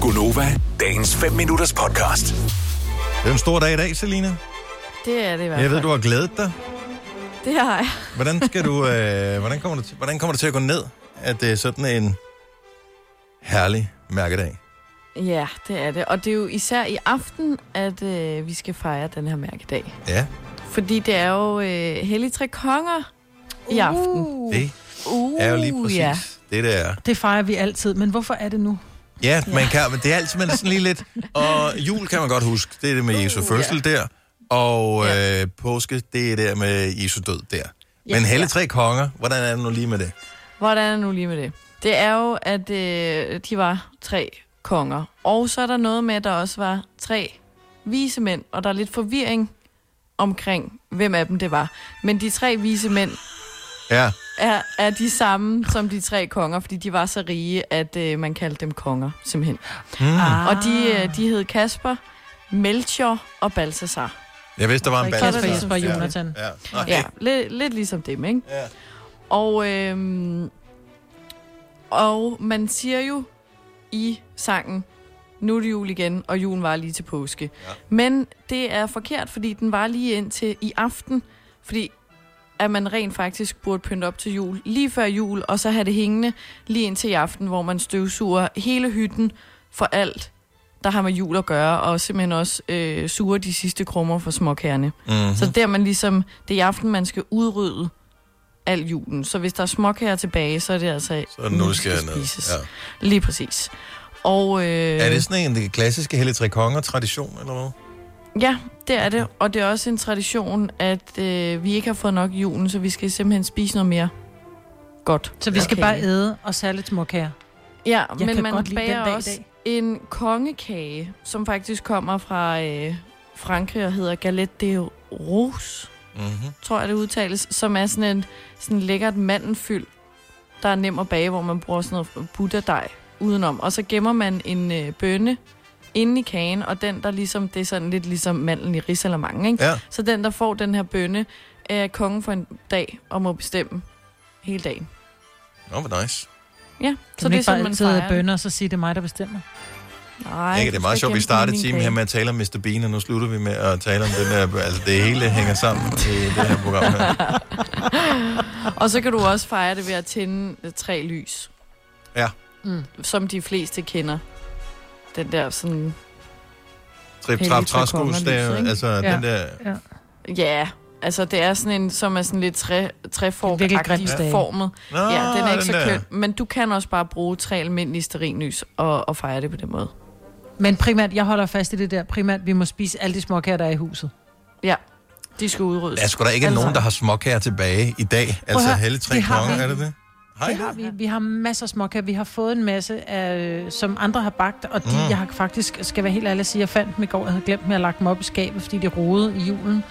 Gunova, dagens 5 minutters podcast. Det er en stor dag i dag, Selina. Det er det i hvert fald. Jeg ved, du har glædet dig. Det har jeg. Hvordan, skal du, øh, hvordan, kommer, det til, hvordan kommer det til at gå ned, at det er sådan en herlig mærkedag? Ja, det er det. Og det er jo især i aften, at øh, vi skal fejre den her mærkedag. Ja, Fordi det er jo øh, Hellig Tre Konger uh. i aften. det Uh, er jo lige præcis Ja. det, der er. Det fejrer vi altid, men hvorfor er det nu? Mm. Ja, man kan, men det er altid man er sådan lige lidt. Og jul kan man godt huske, det er det med Uh, Jesu fødsel der. Og øh, påske, det er der med Jesu død der. Men Helle Tre Konger, hvordan er det nu lige med det? Hvordan er det nu lige med det? Det er jo, at øh, de var tre konger. Og så er der noget med, at der også var tre vise mænd, og der er lidt forvirring omkring, hvem af dem det var. Men de tre vise mænd Ja, er, er de samme som de tre konger, fordi de var så rige, at øh, man kaldte dem konger, simpelthen. Ah. Og de, øh, de hed Kasper, Melchior og Balthasar. jeg vidste, der var en Kasper, balance. Balthasar. Jesper og Jonathan. Ja, ja. Okay. Ja, lidt, lidt ligesom dem, ikke? Ja. Og, øhm, og man siger jo i sangen, nu er det jul igen, og julen var lige til påske. Ja. Men det er forkert, fordi den var lige indtil i aften, fordi at man rent faktisk burde pynte op til jul lige før jul, og så have det hængende lige indtil i aften, hvor man støvsuger hele hytten for alt, der har med jul at gøre, og simpelthen også øh, suger de sidste krummer for småkærne. Mm. Så der man ligesom, det er i aften, man skal udrydde al julen. Så hvis der er småkager tilbage, så er det altså Så er det nu, det skal ned. spises. Ja. Ja. Lige præcis. Og, øh, Er det sådan en det klassiske Helle Tre Konger-tradition, eller hvad? Ja, det er det. Og det er også en tradition, at øh, vi ikke har fået nok i julen, så vi skal simpelthen spise noget mere godt. Så vi skal Okay. bare æde og særligt småkager. Ja, Jeg men kan man godt lide den bager dag i også dag. en kongekage, som faktisk kommer fra øh, Frankrig og hedder Galette de Rose. Mm-hmm. tror jeg, det udtales, som er sådan en sådan lækkert mandenfyld, der er nem at bage, hvor man bruger sådan noget butterdej udenom. Og så gemmer man en øh, bønne inde i kagen, og den, der ligesom, det er sådan lidt ligesom mandlen i risalamanden, ikke? Ja. Så den, der får den her bønne, er kongen for en dag og må bestemme hele dagen. Nå, hvor nice. Ja, Kan så man det ikke bare altid æde bønner, og så sige, det er mig, der bestemmer? Nej, Ikke, det er du meget skal sjovt, vi gemme startede min timen kage. her med at tale om Mr. Bean, og nu slutter vi med at tale om den her... Altså, det hele hænger sammen i det her program her. Og så kan du også fejre det ved at tænde øh, tre lys. Ja. Mm. Som de fleste kender. Den der sådan Trip, Hellige trap, Tre træskus, Konger-lyset, det er jo- ikke? altså Ja. den der... Ja, altså det er sådan en, som er sådan lidt træ, Virkelig grim træformagtig stage. formet. Nå, ja, den er ikke så Ah, der. køn. Men du kan også bare bruge tre almindelige sterinlys og, og fejre det på den måde. Men primært, jeg holder fast i det der, primært, vi må spise alle de småkager, der er i huset. Ja, de skal udryddes. Der er sgu da ikke Altså. nogen, der har småkager tilbage i dag. Altså, høre, Helle Tre det har Konger, vi. er det det? Hej. Det har vi. Vi har masser af småkager. Vi har fået en masse, af, som andre har bagt, og de, mm. jeg har faktisk, skal være helt ærlig at sige, jeg fandt dem i går, jeg havde glemt dem, jeg havde lagt dem op i skabet, fordi det rodede i julen.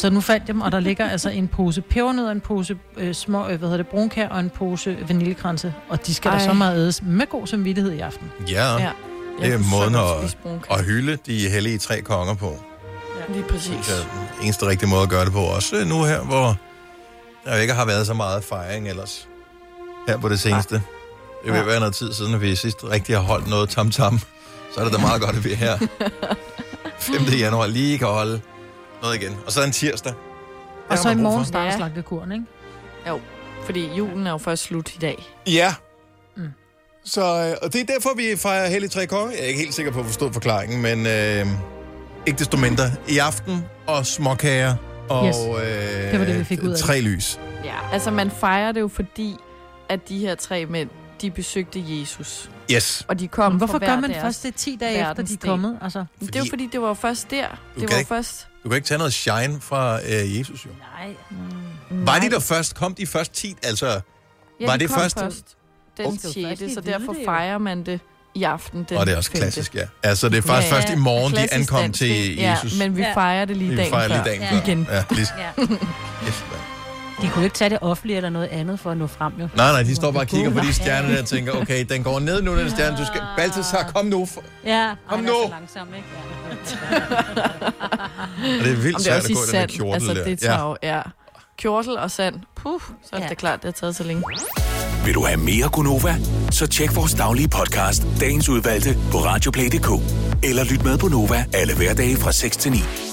Så nu fandt jeg dem, og der ligger altså en pose pebernødder, en pose øh, små, øh, hvad hedder det, brunkær og en pose vaniljekranse. Og de skal da Ej. så meget ædes med god samvittighed i aften. Ja, Ja. det er Jeg kan måden sagtens at- spise brunkage. og hylde de hellige tre konger på. Lige præcis. Det er den eneste rigtige måde at gøre det på. Også nu her, hvor der jo ikke har været så meget fejring ellers. Her på det seneste. Det vil være noget tid siden, at vi sidst rigtig har holdt noget tam-tam. Så er det da meget godt, at vi er her. 5. januar lige kan holde noget igen. Og så en tirsdag. Det har Og så i man brug morgen for. starter Ja. slagtekuren, ikke? Jo, fordi julen er jo først slut i dag. Ja. Mm. Så, øh, og det er derfor, vi fejrer Hellig Tre Konge. Jeg er ikke helt sikker på at forstå forklaringen, men øh, ikke desto mindre. I aften og småkager og Yes. øh, Det var det, vi fik ud af det. tre lys. Ja, altså man fejrer det jo fordi, at de her tre mænd, de besøgte Jesus. Yes. Og de kom Hvorfor fra hver gør man deres. først det 10 dage efter, de er verdensdel. kommet? Altså, Det er jo fordi, det var først der. Det kan var ikke- først... Du kan ikke tage noget shine fra øh, Jesus, jo. nej. Var de der først? Kom de først tit? Altså, Ja, Var de det kom første- først Oh. den Det var 6. først i så hvide, derfor det jo. fejrer man det i aften. Den og det er også femte. klassisk, ja. Altså, det er faktisk Ja, først i morgen, de klassisk ankom dansk, til ikke? Jesus. Ja, men vi Ja. fejrer det lige vi dagen fejrer før. lige dagen Ja. før. Igen. Ja, lige. Ja. Yes, man. De kunne jo ikke tage det offentlige eller noget andet for at nå frem, jo. nej, nej, de står bare og kigger på de stjerner der og tænker, okay, den går ned nu, den stjerne, du skal... Balthasar, kom nu. For... Ja, Kom Kom han nu! er så langsom, ikke? Ja. Og det er vildt Om det er svært også at i gå i den der sand. kjortel altså, der. det tager jo, ja. Kjortel og sand. Puh, så er det Ja. da klart, det har taget så længe. Vil du have mere Gunova? Så tjek vores daglige podcast, dagens udvalgte, på radioplay.dk. Eller lyt med på Nova alle hverdage fra 6 til 9.